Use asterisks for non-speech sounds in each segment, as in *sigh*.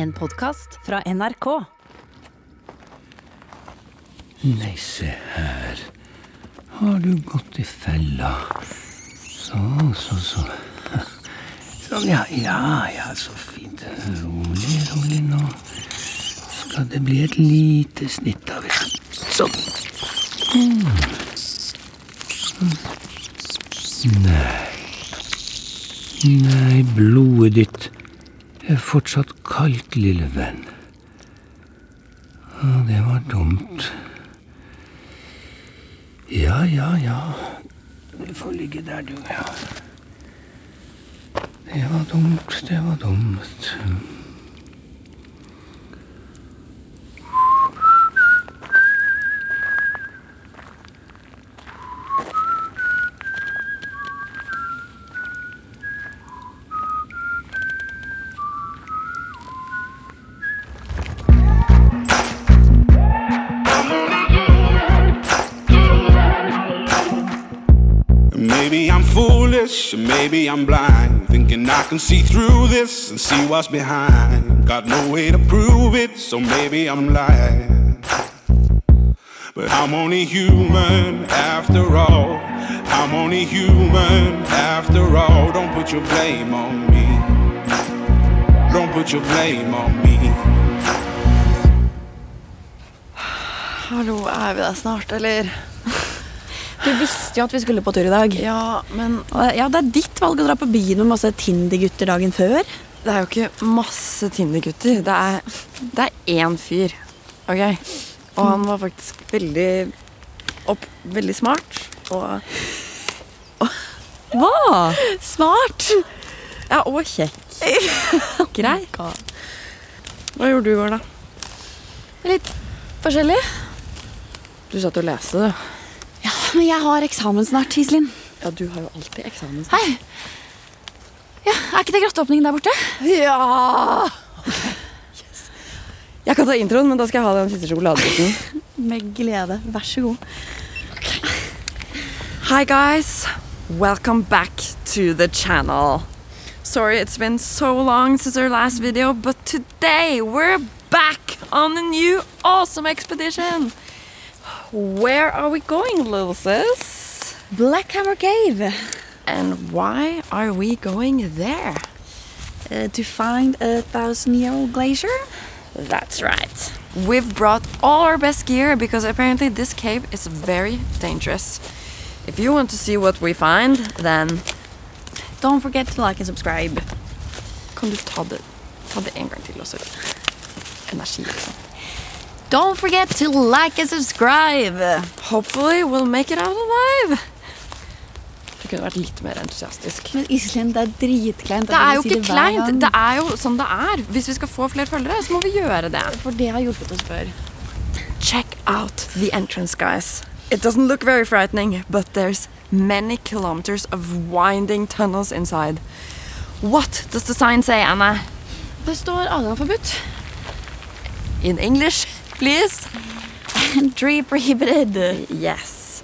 En podkast fra NRK. Nei, se her. Har du gått i fella? Så, så, så. *laughs* Sånn, ja, ja, ja, så fint. Rolig, rolig nå. Skal det bli et lite snitt av et Sånn. Mm. Nei. Nei, blodet ditt er fortsatt kaldt, lille venn. Å, det var dumt. Ja, ja, ja. Du får ligge der, du, ja. Det var dumt, det var dumt. Maybe I'm foolish, maybe I'm blind, thinking I can see through this and see what's behind. Got no way to prove it, so maybe I'm lying. But I'm only human after all. I'm only human after all. Don't put your blame on me. Don't put your blame on me. Hallo, er vi der snart, eller? Du visste jo at vi skulle på tur i dag. Ja, men Og Ja, Det er ditt valg å dra på byen med masse Tinder-gutter dagen før. det er jo ikke masse Tinder-gutter. Det er, det er én fyr, ok? Og han var faktisk veldig opp, veldig smart. Og, Hva? Smart! ja, og kjekk. Oh Grei. Hva gjorde du i går, da? Litt forskjellig. Du satt og leste, du. Ja, Men jeg har eksamen snart, Iselin. Ja, du har jo alltid eksamen. Hei. Ja, Er ikke det grotteåpningen der borte? Ja! Jeg kan ta introen, men da skal jeg ha den siste sjokoladebiten. Med glede. Vær så god. Hi guys, welcome back to the channel. Sorry it's been so long since our last video, but today we're back on a new awesome expedition. Where are we going, little sis? Blackhammer Cave. And why are we going there? Uh, to find a thousand year old glacier. That's right. We've brought all our best gear because apparently this cave is very dangerous. If you want to see what we find, then Don't forget to like and subscribe. Kan du ta det, ta det en gang til også? Energi, liksom. Don't forget to like and subscribe. Hopefully we'll make it out alive. Du kunne vært litt mer entusiastisk. Men Iselin, det er dritkleint. at Det vi er jo sier ikke hver gang. kleint. Det er jo sånn det er. Hvis vi skal få flere følgere, så må vi gjøre det. For det har hjulpet oss før. Check out the entrance, guys. It doesn't look very frightening, but there's many kilometers of winding tunnels inside. What does the sign say, Anna? Det står *laughs* adgang forbudt. In English, please? Entry prohibited. Yes.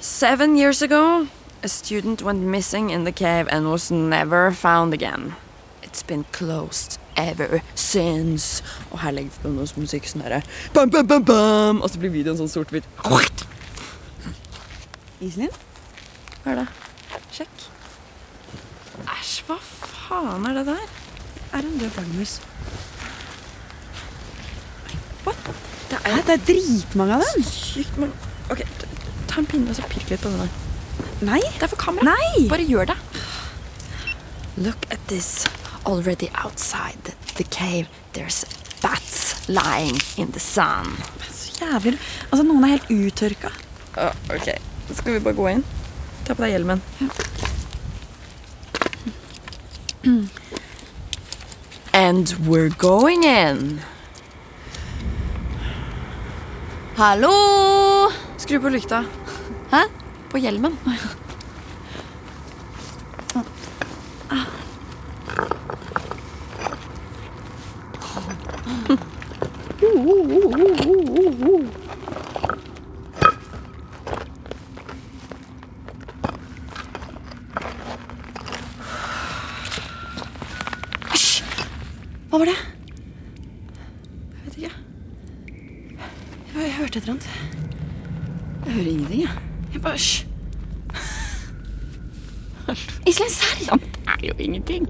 Seven years ago, a student went missing in the cave and was never found again. It's been closed ever since. Og her legger vi på noe musikk sånn herre Bam, bam, bam, bam! Og så blir videoen sånn sort-hvit. Hva Iselin? er det? Sjekk. Æsj, hva faen er det der? Er en død flaggermus. What? Det Hæ, er det er dritmange av dem. sykt mange OK, t- ta en pinne og så pirk litt på den der. Nei. Det er for kamera. Nei! Bare gjør det. Look at this. Already outside the cave, there's bats lying in the sun. Så jævlig. Altså, noen er helt uttørka. ok, skal vi bare gå inn? Ta på deg hjelmen. And we're going in. Hallo! Skru på lykta. Hæ? På hjelmen. Hva var det? Jeg hørte et eller annet. Jeg hører ingenting, jeg. Jeg bare Hysj. *laughs* Iselin, serr! Ja, men det er jo ingenting.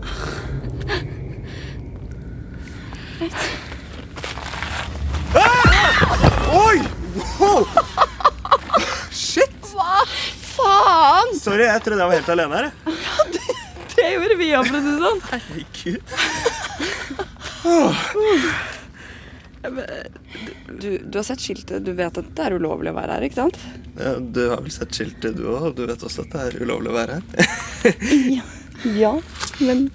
Ah! Oi! Wow! Shit! Hva faen? Sorry, jeg trodde jeg var helt alene her. jeg. Det gjorde vi òg, for å si det sånn. Herregud. Du, du har sett skiltet. Du vet at det er ulovlig å være her, ikke sant? Ja, Du har vel sett skiltet, du òg? Du vet også at det er ulovlig å være her? Ja, men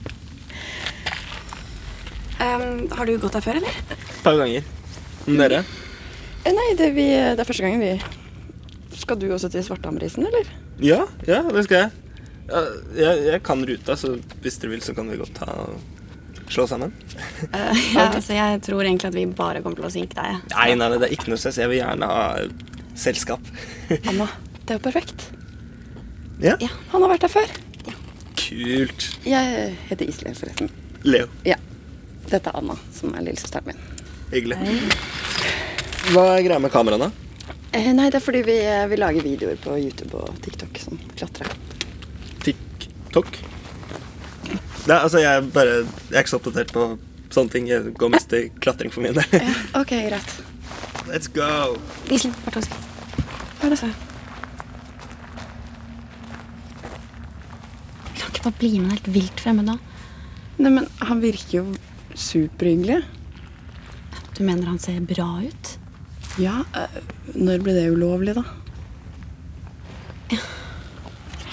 Um, Har du gått her før, eller? Et par ganger. Men dere? Eh, Nei, det, vi, det er første gangen vi Skal du også til Svarthamrisen, eller? Ja, ja, det skal jeg. Ja, Jeg, jeg kan ruta, så hvis dere vil, så kan vi godt ta og slå sammen. Ja, altså, jeg tror egentlig at vi bare kommer til å sinke deg. Nei, nei, nei, det er ikke noe stress. Jeg vil gjerne ha selskap. Anna, det er jo perfekt. *laughs* Ja, Ja, Han har vært her før. kult. Jeg heter Iselin, forresten. Leo, Ja. Dette er Anna, som er lillesøsteren min. hyggelig. Hva er greia med kameraene? Eh, nei, det er fordi vi, eh, vi lager videoer på YouTube og TikTok som klatre. TikTok? Nei, altså, jeg bare Jeg er ikke så oppdatert på sånne ting. Jeg går mest i klatring for min del. Ok, greit. Let's go! Iselin, bare to sekunder. Hva er det så? Vi kan ikke bare bli med helt vilt fremme da. Nei, men han virker jo superhyggelig. Du mener han ser bra ut? Ja, eh, når ble det ulovlig, da?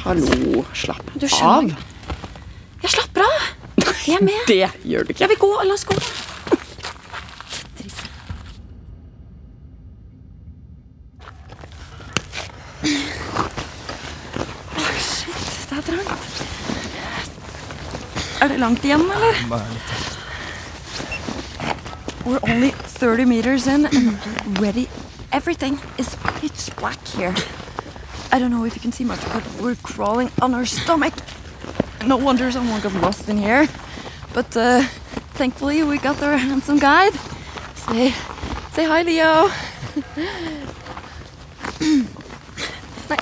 Hallo, slapp Du skjønner. Jeg slapper av! Jeg er med. Det gjør du ikke. Jeg vil gå. La oss gå. Er det langt igjen, eller? We're only 30 meters in and already everything is pitch black here. I don't know if you can see much, but we're crawling on our stomach. No wonder someone got lost in here. But uh, thankfully we got our handsome guide. Say, say hi, Leo. Nei.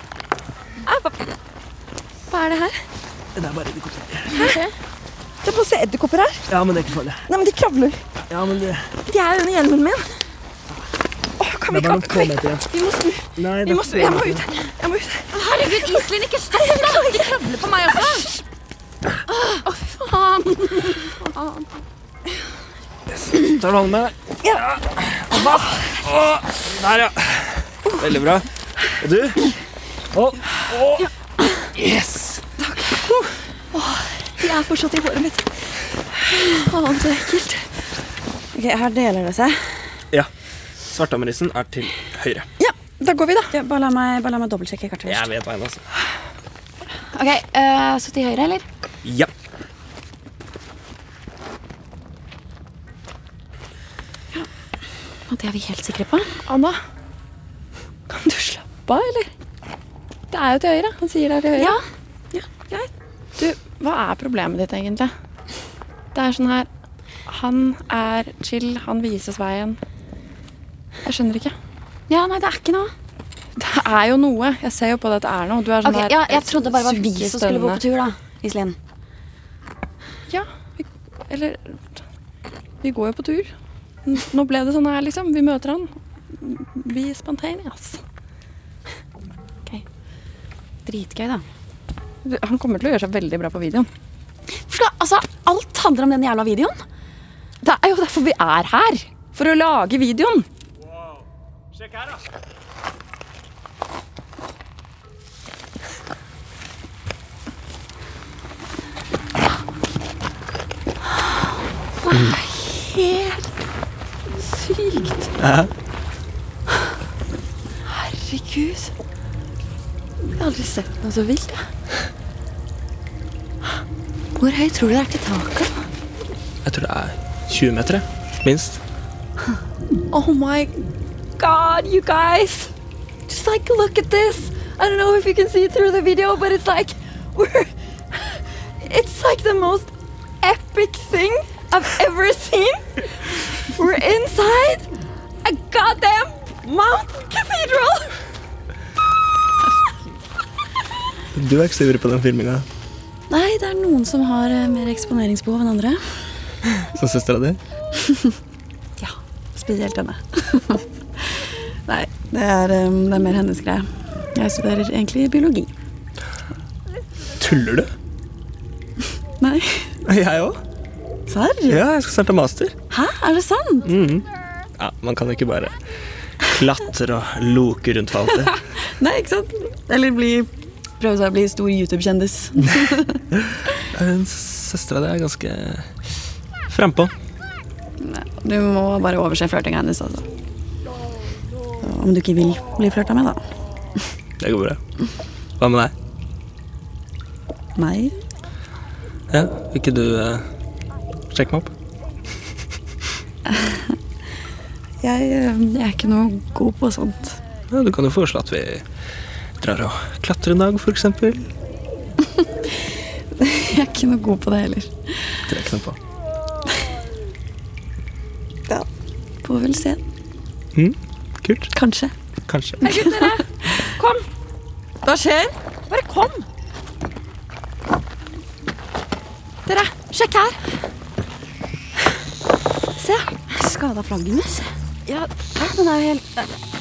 Au, pappa. Hva er det her? Det er bare edderkopper. Det er masse edderkopper her. Ja, men det er ikke farlig. Nei, men de kravler. Ja, men det, De er under hjelmen min. Åh, kan vi det er bare kan, noen få kan vi, meter igjen. vi må snu. Nei, Vi det må snu. Jeg må ut. Jeg må ut. Herregud, Iselin, ikke stopp! da! De kravler på meg også. Tar du hånden med deg? Ja. Der, ja. Veldig bra. Og du? De er fortsatt i håret mitt. Åh, det er ekkelt. Ok, her deler det seg. Ja. Svarthammerisen er til høyre. Ja, da går vi da. Ja, bare la meg, bare la meg dobbeltsjekke kartet først. Jeg vet veien, altså. Ok, eh, så til høyre, eller? Ja. Og det er vi helt sikre på. Anna, kan du slappe av, eller? Det er jo til høyre. Han sier det er til høyre. Ja. Ja, greit. Du, hva er problemet ditt egentlig? Det er sånn her, han er chill, han vises veien. Jeg skjønner ikke. Ja, nei, det er ikke noe. Det er jo noe. Jeg ser jo på det at det er noe. Du er sånn Ok, der, ja, Jeg trodde bare det var vi sukker i som skulle gå på stønnene. tur, da. Iselin. Ja, vi, eller Vi går jo på tur. N- Nå ble det sånn her, liksom. Vi møter han. Vi er spontaneous. Dritgøy, da. Han kommer til å gjøre seg veldig bra på videoen. For da, altså, Alt handler om den jævla videoen. Det er jo derfor vi er her! For å lage videoen. Helt Sykt. Herregud. Jeg har aldri sett noe så vilt. jeg. Hvor høyt tror du det er til taket? Jeg tror det er 20 meter, jeg. minst. Oh my god, you guys! Just like look at this. I don't know if you can see it through the video, but it's like *laughs* we're. It's like the most epic thing I've ever seen. We're inside a goddamn Mount Cathedral! Du er ikke så ivrig på den filminga Nei, det er noen som har eh, mer eksponeringsbehov enn andre. som søstera di? Ja, spesielt henne. *laughs* Nei, det er, eh, det er mer hennes greie. Jeg studerer egentlig biologi. Tuller du? Nei, Jeg òg. serr? Ja, jeg skal snart ta master. Hæ, er det sant? Ja, Man kan ikke bare klatre og loke rundt for alltid. *laughs* Nei, ikke sant? Eller bli, prøve seg å bli stor YouTube-kjendis. Søstera di er ganske frampå. Du må bare overse flørtinga hennes, altså. Så, om du ikke vil bli flørta med, da. Det går bra. Hva med deg? Nei. Ja, Vil ikke du eh, sjekke meg opp? Jeg, eh, jeg er ikke noe god på sånt. Ja, Du kan jo foreslå at vi drar og klatrer en dag, f.eks. Det Jeg er ikke noe god på det heller. er ikke noe på. *laughs* Ja. Får vel se. Hm? Kult. Kanskje. Kanskje. *laughs* Hva skjer? Bare kom. Dere, sjekk her. Se. Skada flagget hennes. Ja, takk, den er jo helt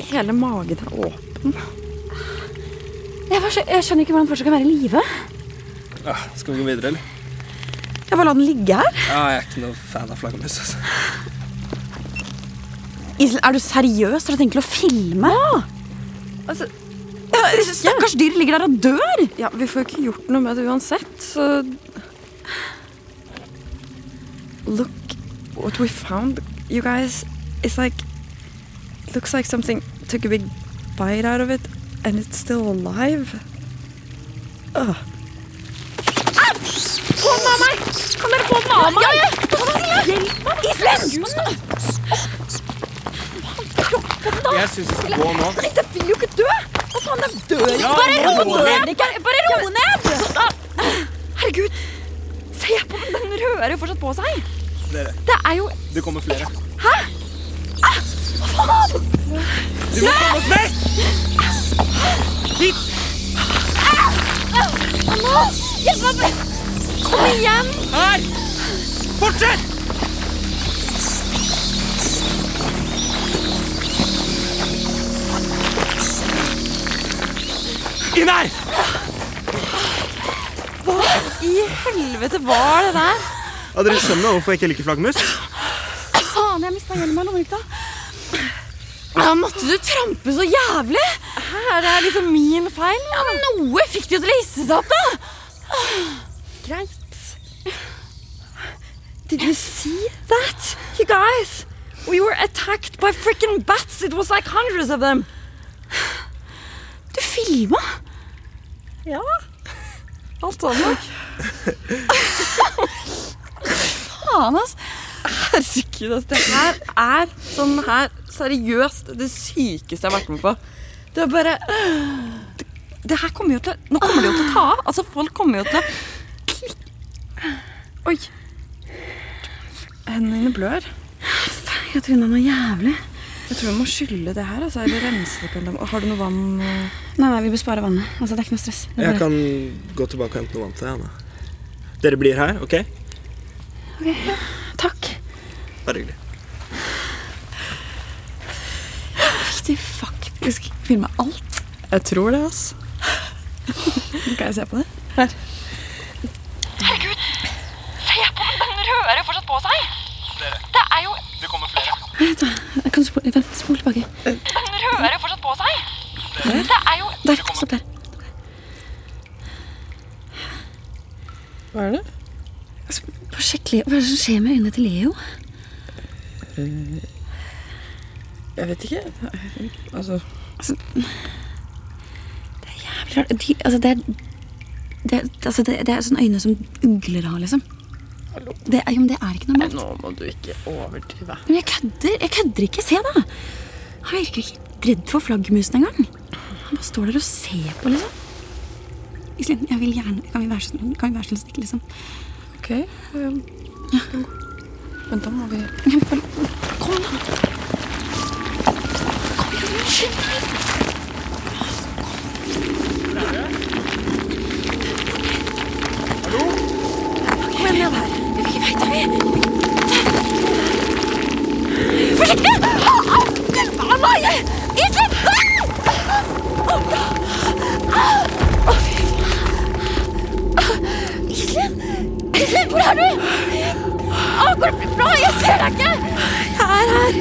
Hele magen er åpen. Jeg, skjønner ikke hvordan den fortsatt kan være i live. Ah, Skal vi gå videre, eller? Jeg bare la den ligge her. Ja, jeg er ikke noe fan av flaggermus. Altså. Isel, er du seriøs? Har du tenkt å filme? Ja! *laughs* er Stakkars dyr ligger der og dør! Ja, Vi får jo ikke gjort noe med det uansett, så Look what we found, you guys. It's like it Looks like something took a big bite out of it, and it's still alive. Ugh. Kom av meg! Kan dere få den av meg? Hjelp meg! Islen! Jeg syns vi skal gå nå. Nei, det vil jo ikke dø! Hva faen, den dør ikke! Bare ro ned! Bare ro ned! Herregud, se på den, den rører jo fortsatt på seg. Dere. Det er jo Det kommer flere. Nå! Hjelp meg! Kom igjen! Inn her! I helvete var det der? Ja, dere skjønner hvorfor jeg ikke liker flaggermus? Faen, jeg mista hjelmen og lommelykta. Ja, måtte du trampe så jævlig? Hæ, det er liksom min feil. Ja, men Noe fikk de jo til å hisse seg opp, da. Greit. Did you see that, you guys? We were attacked by freaking bats. It was like hundreds of them. Du filma? Ja. Alt *laughs* sammen. Faen, altså. Herregud, altså, det her er sånn her seriøst det sykeste jeg har vært med på. Det er bare det, det her kommer jo til å- Nå kommer det jo til å ta av. Altså, folk kommer jo til å klikk- Oi. Hendene dine blør. Jeg tryna noe jævlig. Jeg tror vi må skylle det her. Altså, eller rense det på en eller annen Har du noe vann? eh? Nei, nei, vi bør spare vannet. Altså, det er ikke noe stress. Det er Jeg bare... kan gå tilbake og hente noe vann til deg. Anna. Dere blir her, OK? Takk. Bare hyggelig. Fikk de faktisk filma alt? Jeg tror det, ass. Kan jeg se på det? Her. Herregud, se på den! Den rører fortsatt på seg! Dere. Det er jo Det kommer flere. Vent, da. Jeg kan spole, vent, spol tilbake. Den rører fortsatt på seg! Dere. Der. Stopp der. Hva er det? Altså, bare sjekk Leo. Hva er det som skjer med øynene til Leo? Jeg vet ikke. Altså Jævlig rart. De, altså, det er det, er- altså, det, det er sånne øyne som ugler har, liksom. Det, er- jo, men det er ikke normalt. Nå må du ikke overdrive. Men jeg kødder, jeg kødder ikke. Se, da! Han virker ikke redd for flaggermusen engang. Han bare står der og ser på, liksom. Iselin, jeg vil gjerne Kan vi være så snill, kan vi være så snill liksom? OK. Um, Men da må vi Kom, da! Kom, igjen, Maja! Iselin! Å, fy faen. Iselin? Iselin, hvor er du? Å, går det bra? Jeg ser deg ikke! Jeg er her.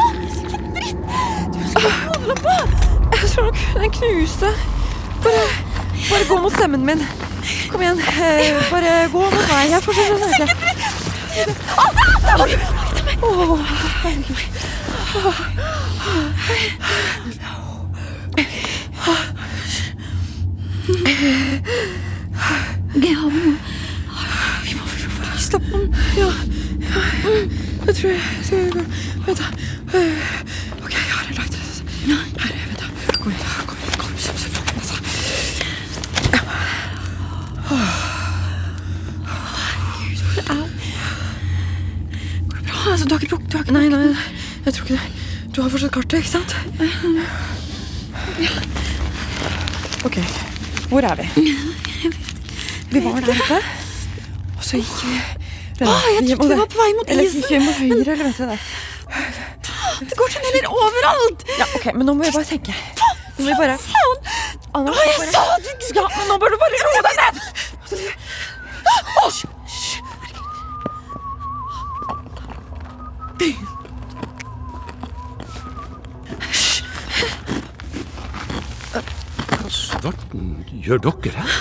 Hvilken dritt! Du skal holde på! Jeg tror nok den knuste. Bare, bare gå mot stemmen min. Kom igjen. eh, Bare gå mot meg. Jeg får se hva som skjer. Jeg tror jeg, jeg tror jeg går. Vent, da. Eh, Ok, jeg har en lighter. Her, vent da. Kom igjen, kom igjen, kom igjen. kjøp, kjøp, kjøp, kjøp, kjøp. Altså, du har ikke brukt du har ikke... Nei, nei, nei, jeg tror ikke det. Du har fortsatt kartet, ikke sant? Ok, hvor er vi? Vi var der oppe, og så gikk vi... Å, jeg trodde vi var på vei mot Eller isen, gikk vi mot høyre, eller venstre der? Det går tunneler overalt! Ja, ok, men nå må vi bare tenke. Nå må vi bare... Anna, jeg sa det! Ja, men nå bør du bare roe deg ned! Svarten gjør dere her?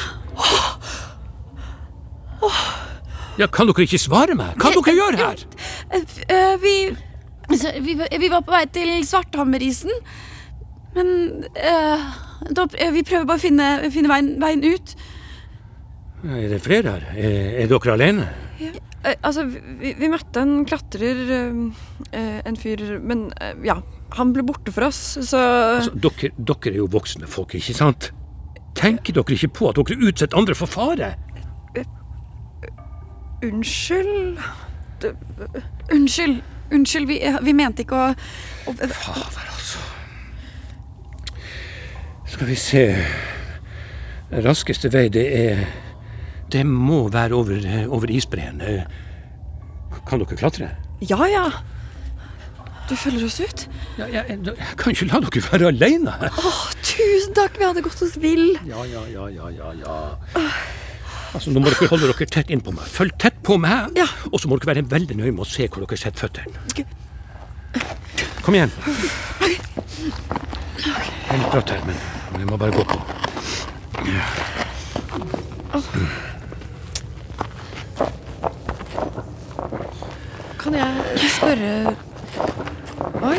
Ja, kan dere ikke svare meg? Hva dere gjør her? Eh, vi, altså, vi, vi var på vei til Svarthammerisen, men eh, da, eh, vi prøver bare å finne, finne veien, veien ut. Er det flere her? Er, er dere alene? Eh, altså, vi, vi møtte en klatrer, eh, eh, en fyr, men eh, ja, han ble borte for oss, så Altså, dere, dere er jo voksne folk, ikke sant? Tenker dere ikke på at dere utsetter andre for fare? unnskyld. Unnskyld. Unnskyld, vi, vi mente ikke å Fader, altså. Skal vi se Den Raskeste vei, det er Det må være over, over isbreen. Eh, Kan dere klatre? Ja, ja. Du følger oss ut? Ja, jeg, jeg kan ikke la dere være alene her. Å, tusen takk, vi hadde gått oss vill. Ja, ja, ja, ja, ja, ja. Altså, Nå må dere holde dere tett innpå meg. Følg tett på meg. Ja. Og så må dere være veldig nøye med å se hvor dere setter føttene. Kom igjen. Det er litt bratt her, men vi må bare gå på. Kan jeg spørre Oi,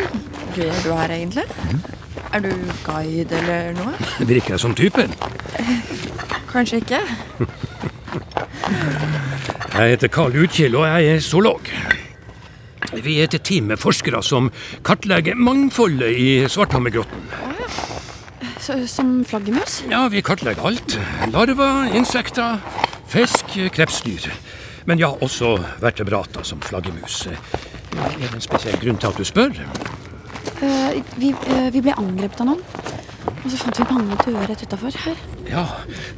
gøy er du her egentlig? Er du guide eller noe? Virker jeg som typen? Kanskje ikke? Jeg heter Karl Utkil, og jeg er zoolog. Vi er et team med forskere som kartlegger mangfoldet i Svarthammergrotten. så, Som flaggermus? Ja, vi kartlegger alt. Larver, insekter, fisk, krepsdyr. Men ja, også vertebrater som flaggermus. Er det en spesiell grunn til at du spør? Eh, vi, eh, vi ble angrepet av noen. Og så fant vi mange døde rett utafor her. Ja,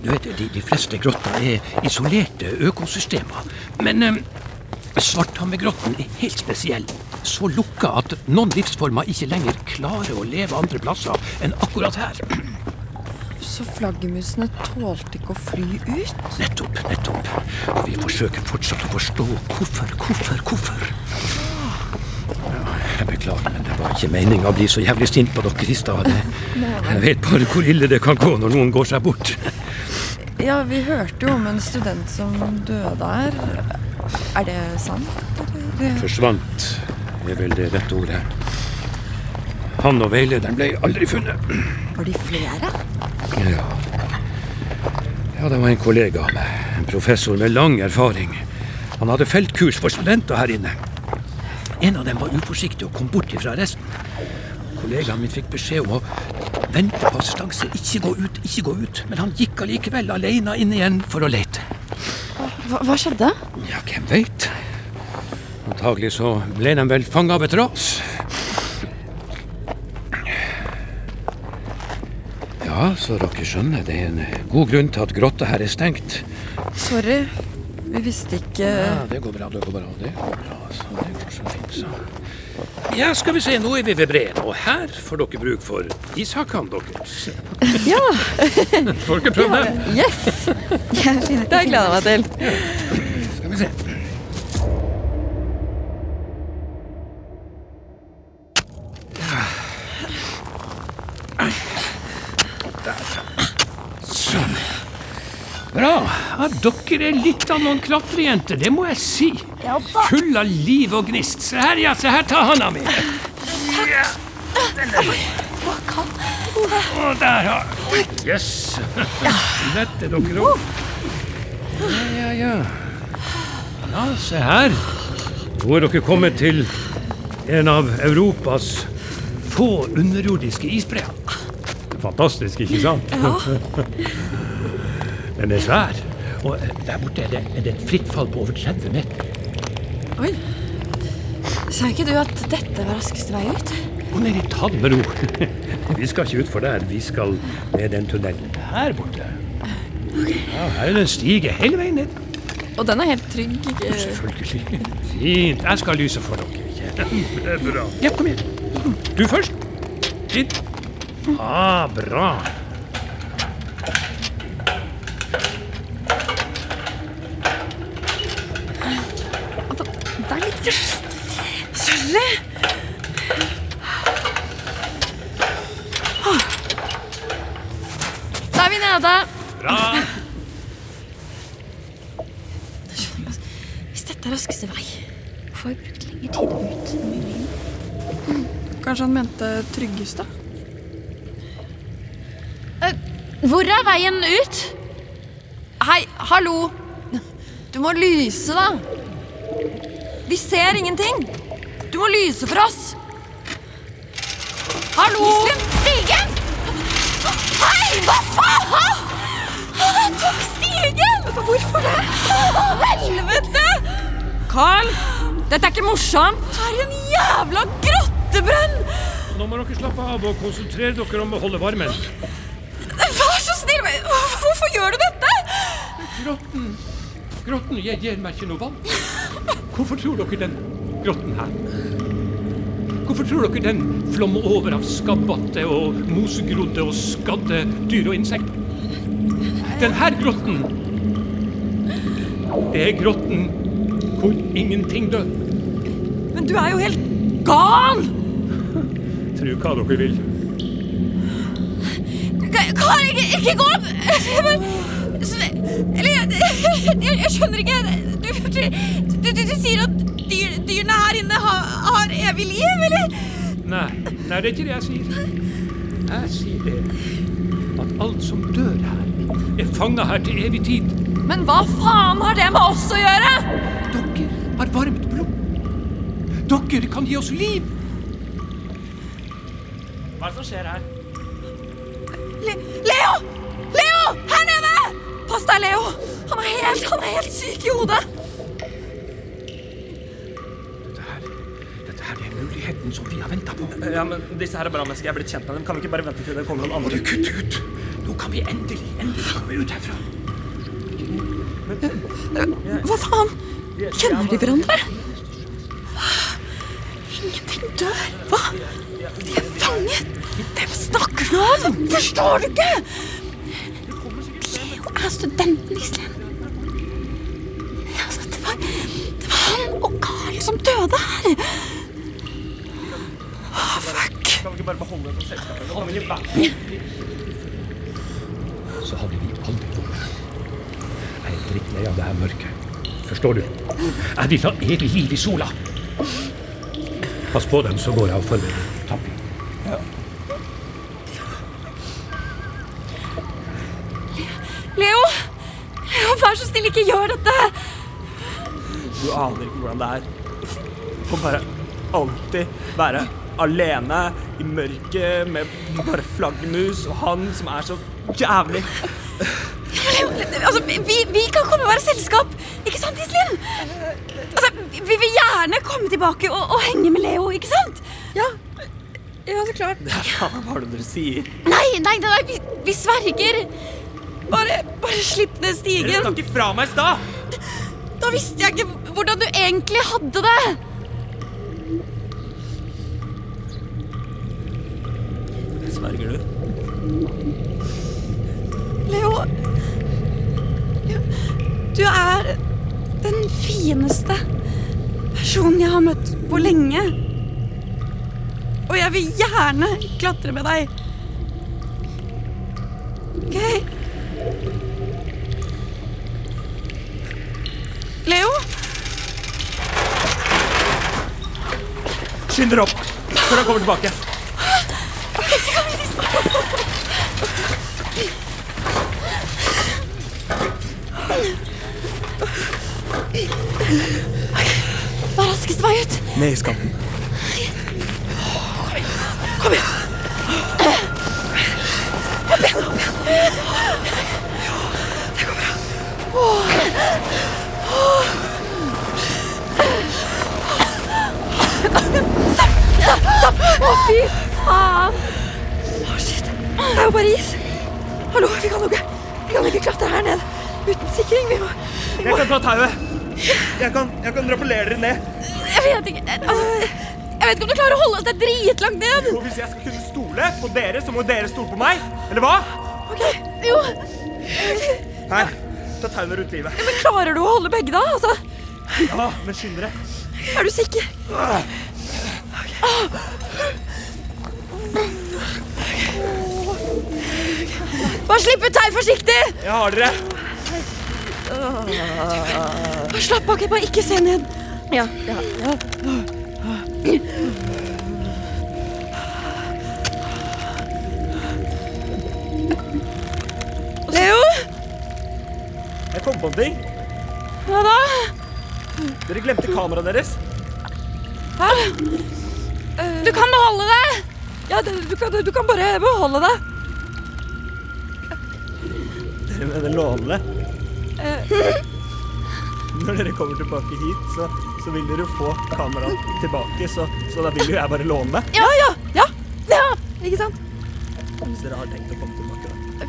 du vet, de, de fleste grotter er isolerte økosystemer. Men eh, Svarthammergrotten er helt spesiell. Så lukka at noen livsformer ikke lenger klarer å leve andre plasser enn akkurat her. *clears throat* Så flaggermusene tålte ikke å fly ut? Nettopp, nettopp. Og vi forsøker fortsatt å forstå hvorfor, hvorfor, hvorfor. Ja, jeg beklager, men det var ikke meninga å bli så jævlig sint på dere i stad. Jeg vet bare hvor ille det kan gå når noen går seg bort. Ja, vi hørte jo om en student som døde her. Er det sant? Forsvant er vel det rette ordet. Han og veilederen ble aldri funnet. Var de flere? Ja. ja, det var en kollega av meg. En professor med lang erfaring. Han hadde feltkurs for studenter her inne. En av dem var uforsiktig og kom bort ifra resten. Kollegaen min fikk beskjed om å vente på assistanse, ikke gå ut, ikke gå ut. Men han gikk allikevel alene inn igjen for å lete. Hva, hva skjedde? Ja, hvem veit? Antagelig så ble de vel fanga av et ras. Ja, så dere skjønner, det er en god grunn til at grotta her er stengt. Sorry, vi visste ikke Ja, det går bra, det går bra. Det går bra. Så det går så fint, så. Ja, skal vi se, nå er vi ved breen, og her får dere bruk for ishakkene deres. Ja. Får dere prøve dem? Yes! Det har jeg gleda meg til. Skal vi se. Sånn. Bra. Ja, dere er litt av noen klatrejenter, det må jeg si. Full av liv og gnist. Se her, ja. Se her, ta handa mi. Ja. Og der har Yes. Lette dere opp. Ja, ja, ja. Ja, se her. Nå er dere kommet til en av Europas få underjordiske isbreer. Fantastisk, ikke sant? Den er svær. Og eh, der borte er det, er det et fritt fall på over 30 meter. Sa ikke du at dette var raskeste vei ut? Gå ned i ta det med ro. *laughs* Vi skal ikke utfor der. Vi skal ned den tunnelen her borte. Ja, her er det en stige hele veien ned. Og den er helt trygg. ikke? Selvfølgelig. Fint. Jeg skal lyse for dere. *laughs* Kjempebra. Ja, kom igjen. Du først. Inn. Ah, bra. Vær litt forsiktig. Da er vi nede. Bra. Hvis dette er raskeste vei, hvorfor har vi brukt lengre tid på å ut? Mm. Kanskje han mente tryggest, da? Eh, Hvor er veien ut? Hei, hallo! Du må lyse, da! Vi ser ingenting! Du må lyse for oss! Hallo! Stigen! Hei, hva faen? Han tok stigen! Hvorfor det? Å, helvete! Carl! Dette er ikke morsomt! For en jævla grottebrann! Nå må dere slappe av og konsentrere dere om å holde varmen. Vær så snill, men hvorfor gjør du dette? Grotten Grotten jeg gir meg ikke noe vann. Hvorfor tror dere den grotten her? Hvorfor tror dere den flommer over av skabbatte og mosegrodde og skadde dyr og insekter? Den her grotten Det er grotten hvor ingenting dør. Men du er jo helt gal! Tro hva dere vil. Ka- Kar, ikke, ikke gå opp! Men- Sve- Eller, jeg, jeg, jeg skjønner ikke. Du, du, du, du sier at dyr, dyrene her inne har, har evig liv, eller? Nei, nei, det er ikke det jeg sier. Jeg sier det at alt som dør her, er fanga her til evig tid. Men hva faen har det med oss å gjøre? Dere har varmt blod. Dere kan gi oss liv. Hva er det som skjer her? Le Leo! Leo! Her nede! Pass deg, Leo. Han er helt, han er helt syk i hodet. Dette her, dette her er muligheten som vi har venta på. Ja, men Disse her er bra mennesker. Jeg er blitt kjent med dem. Kan vi ikke bare vente til det kommer noen andre? Kutt ut! Nå kan vi endelig, endelig komme ut herfra. Hva faen? Kjenner de hverandre? Ingenting dør. Hva? De er fanget. Hvem snakker du om? Forstår du ikke? Leo er studenten, Iselin. Altså, det, var, det var han og Carl som døde her. Kan vi ikke bare beholde dem som selskap? eller noe? Kan vi ikke være- Så hadde vi aldri kommet her. Jeg er drittlei av det her mørket. Forstår du? Jeg vil ha evig liv i sola. Pass på dem, så går jeg og forbereder tapping. Leo! Leo, vær så snill, ikke gjør dette. Du aner ikke hvordan det er å bare alltid være alene i mørket med bare flaggermus og han som er så jævlig Leo, altså, vi, vi kan komme og være selskap. Ikke sant, Iselin? Altså, vi vil gjerne komme tilbake og, og henge med Leo, ikke sant? Ja. Ja, så klart. Hva faen er det dere sier? Nei, nei, nei, nei vi, vi sverger. Bare, bare slipp ned Dere stigen. stakk ifra meg i stad! Da visste jeg ikke hvordan du egentlig hadde det. Sverger du? Leo Leo, Du er den fineste personen jeg har møtt på lenge. Og jeg vil gjerne klatre med deg. OK? Leo? Skynd dere opp før han kommer tilbake. Hva er raskeste vei ut? Ned i skampen. Det er jo bare is. Hallo, vi kan jo ikke, vi kan ikke klatre her ned uten sikring. Vi må Jeg kan ta tauet. Jeg kan, jeg kan rappellere dere ned. Jeg vet ikke altså, Jeg vet ikke om du klarer å holde oss der dritlangt ned. Og hvis jeg skal kunne stole på dere, så må dere stole på meg. Eller hva? Ok, jo. Her. Ta tauet rundt livet. Men klarer du å holde begge, da? Altså, Ja, men skynd dere. er du sikker? Bare slipp ut her forsiktig! Jeg har dere. Bare slapp av, ok, bare ikke se ned. Ja, ja, ja. Leo? Jeg kom på en ting. Hva da? Dere glemte kameraet deres. Hæ? Du kan beholde det! Ja, det- du kan, du kan bare beholde det. Dere mener låne det. Når dere kommer tilbake hit, så, så vil dere få kameraet tilbake. Så, så da vil jo jeg bare låne det. Ja, ja, ja. ja. Ikke sant? Hvis dere har tenkt å komme tilbake, da.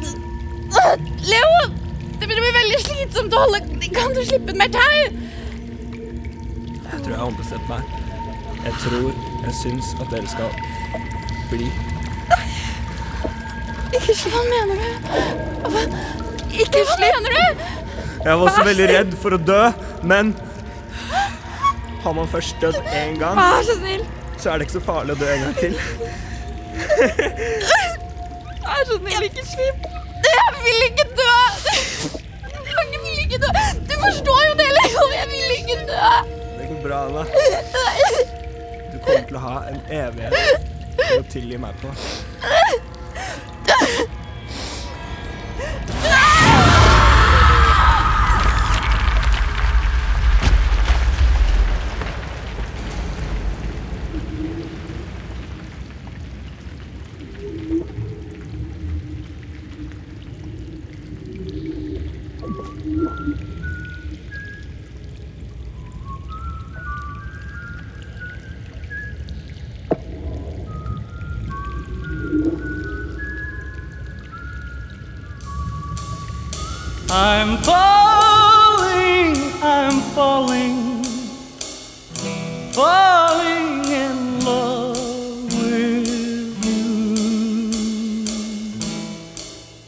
Øh, Leo! Det begynner å bli veldig slitsomt å holde Kan du slippe mer tau? Jeg tror jeg har ombestemt meg. Jeg tror jeg syns at dere skal bli. Ikke slipp Hva mener du? Ikke Hva mener du? Jeg var så veldig redd for å dø, men har man først dødd én gang, Vær så snill. så er det ikke så farlig å dø en gang til. Vær så snill, ikke slipp. Jeg vil ikke dø. Jeg vil ikke dø. Du forstår jo det, Leo. Jeg vil ikke dø. Det går bra, Anna. Du kommer til å ha en evighet til å tilgi meg på. I'm falling, I'm falling, falling in love with you.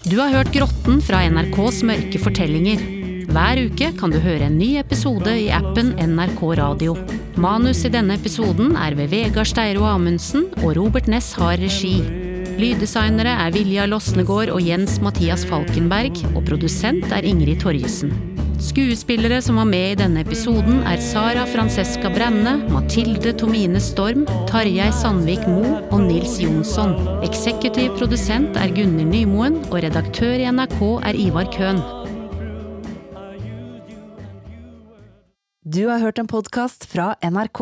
Du har hørt Grotten fra NRKs Mørke fortellinger. Hver uke kan du høre en ny episode i appen NRK Radio. Manus i denne episoden er ved Vegard Steiro Amundsen, og Robert Ness har regi. Lyddesignere er Vilja Losnegård og Jens Mathias Falkenberg, og produsent er Ingrid Torjussen. Skuespillere som var med i denne episoden, er Sara Francesca Brenne, Mathilde Tomine Storm, Tarjei Sandvik Mo og Nils Jonsson. Eksekutiv produsent er Gunnhild Nymoen, og redaktør i NRK er Ivar Køhn. Du har hørt en podkast fra NRK.